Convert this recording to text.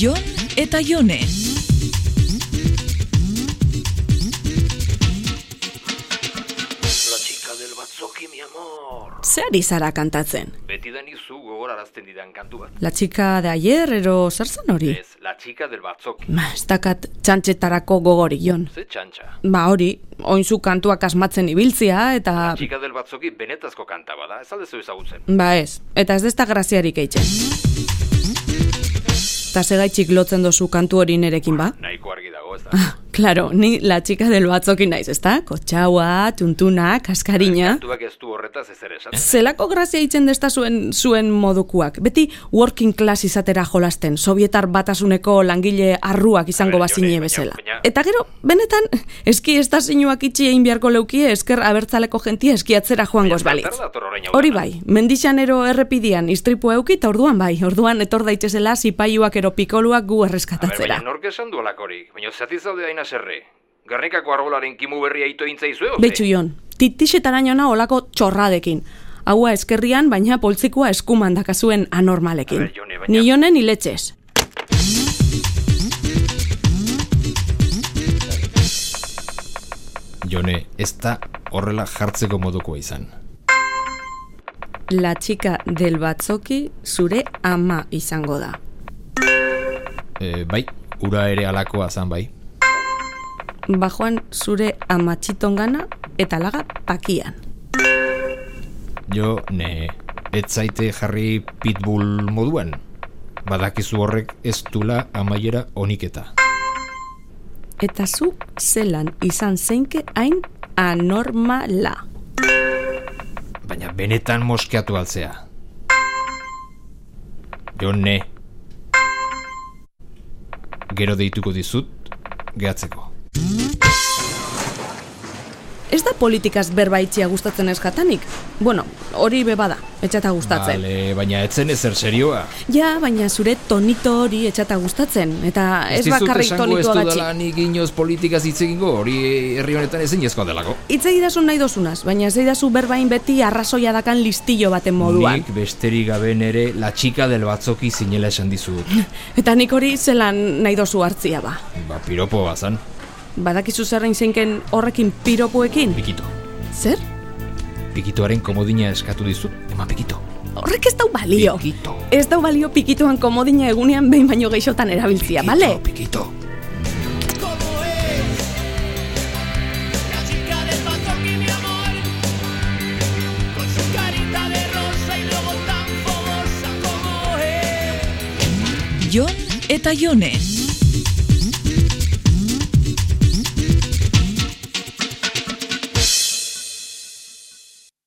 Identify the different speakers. Speaker 1: Jon eta Jone.
Speaker 2: La chica del batzoki, mi amor.
Speaker 3: Zer ari zara kantatzen?
Speaker 2: Beti da nizu gogorarazten didan kantu bat.
Speaker 3: La txika de ayer, ero zer zen hori?
Speaker 2: Ez, la chica del batzoki.
Speaker 3: Ma, ez dakat txantxetarako gogorik jon.
Speaker 2: Ze txantxa.
Speaker 3: Ba hori, oinzu kantuak asmatzen ibiltzia eta...
Speaker 2: Chica del batzoki benetazko kanta bada, ez aldezu ezagutzen.
Speaker 3: Ba ez, eta ez dezta graziarik eitzen. Eta segaitxik lotzen dozu kantu hori nerekin ba?
Speaker 2: Nahiko argi dago, ez da.
Speaker 3: Ah, Claro, ni la txika del batzokin naiz, ezta? Kotxaua, tuntuna, kaskariña...
Speaker 2: Kantuak ez du horretaz ez ere esaten.
Speaker 3: Zelako grazia itzen desta zuen, zuen modukuak. Beti working class izatera jolasten, sovietar batasuneko langile arruak
Speaker 2: A
Speaker 3: izango
Speaker 2: ber, Jone,
Speaker 3: bazine
Speaker 2: baina-
Speaker 3: bezala.
Speaker 2: baina-
Speaker 3: Eta gero, benetan, eski estazinuak itxi egin beharko leukie esker abertzaleko jentia eskiatzera joango ez balitz.
Speaker 2: Zer dator orain hau
Speaker 3: Hori
Speaker 2: dena?
Speaker 3: bai, mendixanero errepidian istripu euki eta orduan bai, orduan etor daitezela zipaiuak ero pikoluak gu
Speaker 2: A ber,
Speaker 3: erreskatatzera.
Speaker 2: baina nork esan du alakorik, baina zati zaude hain aserre. Gernikako arbolaren kimu berria ito intzaizue, oze?
Speaker 3: Beitxu jon, titixetarainona olako txorradekin. Haua eskerrian, baina poltzikoa eskuman dakazuen anormalekin.
Speaker 2: A ber, Jone, baina-
Speaker 3: Ni jonen iletxez.
Speaker 4: Jone, ez da horrela jartzeko modukoa izan.
Speaker 3: La txika del batzoki zure ama izango da.
Speaker 4: E, bai, ura ere alakoa zan bai.
Speaker 3: Bajoan zure ama txitongana eta laga pakian.
Speaker 4: Jo, ne, ez zaite jarri pitbull moduan. Badakizu horrek ez dula amaiera oniketa.
Speaker 3: Eta zu zelan izan zeinke hain anormala.
Speaker 4: Baina benetan moskeatu altzea. Jone. Gero deituko dizut, gehatzeko.
Speaker 3: Ez da politikaz berbaitzia gustatzen ez jatanik? Bueno, hori bebada, etxata gustatzen.
Speaker 4: Bale, baina etzen ezer serioa.
Speaker 3: Ja, baina zure tonito hori etxata gustatzen. Eta ez
Speaker 4: dizut
Speaker 3: bakarrik
Speaker 4: esango ez
Speaker 3: tonitoa gatxik.
Speaker 4: dudala nik inoz politikaz hitz egingo, hori herri honetan ezin ezkoa delako.
Speaker 3: Itz egidazu nahi dozunaz, baina ez egidazu berbain beti arrazoia dakan listillo baten moduan.
Speaker 4: Nik besterik gabe nere la txika del batzoki zinela esan dizut.
Speaker 3: Eta nik hori zelan nahi dozu hartzia ba.
Speaker 4: ba, piropo bazan,
Speaker 3: Badakizu zerrein zeinken horrekin piropuekin?
Speaker 4: pikito.
Speaker 3: Zer?
Speaker 4: Pikitoaren komodina eskatu dizut, eman pikito.
Speaker 3: Horrek ez dau balio.
Speaker 4: Pikito.
Speaker 3: Ez dau balio pikituan komodina egunean behin baino geixotan erabiltzia,
Speaker 4: Pikito,
Speaker 3: bale?
Speaker 4: Pikito.
Speaker 5: La chica del Pazoqui, mi amor, con su carita de rosa y luego tan fogosa como es.
Speaker 1: Jon eta Jone.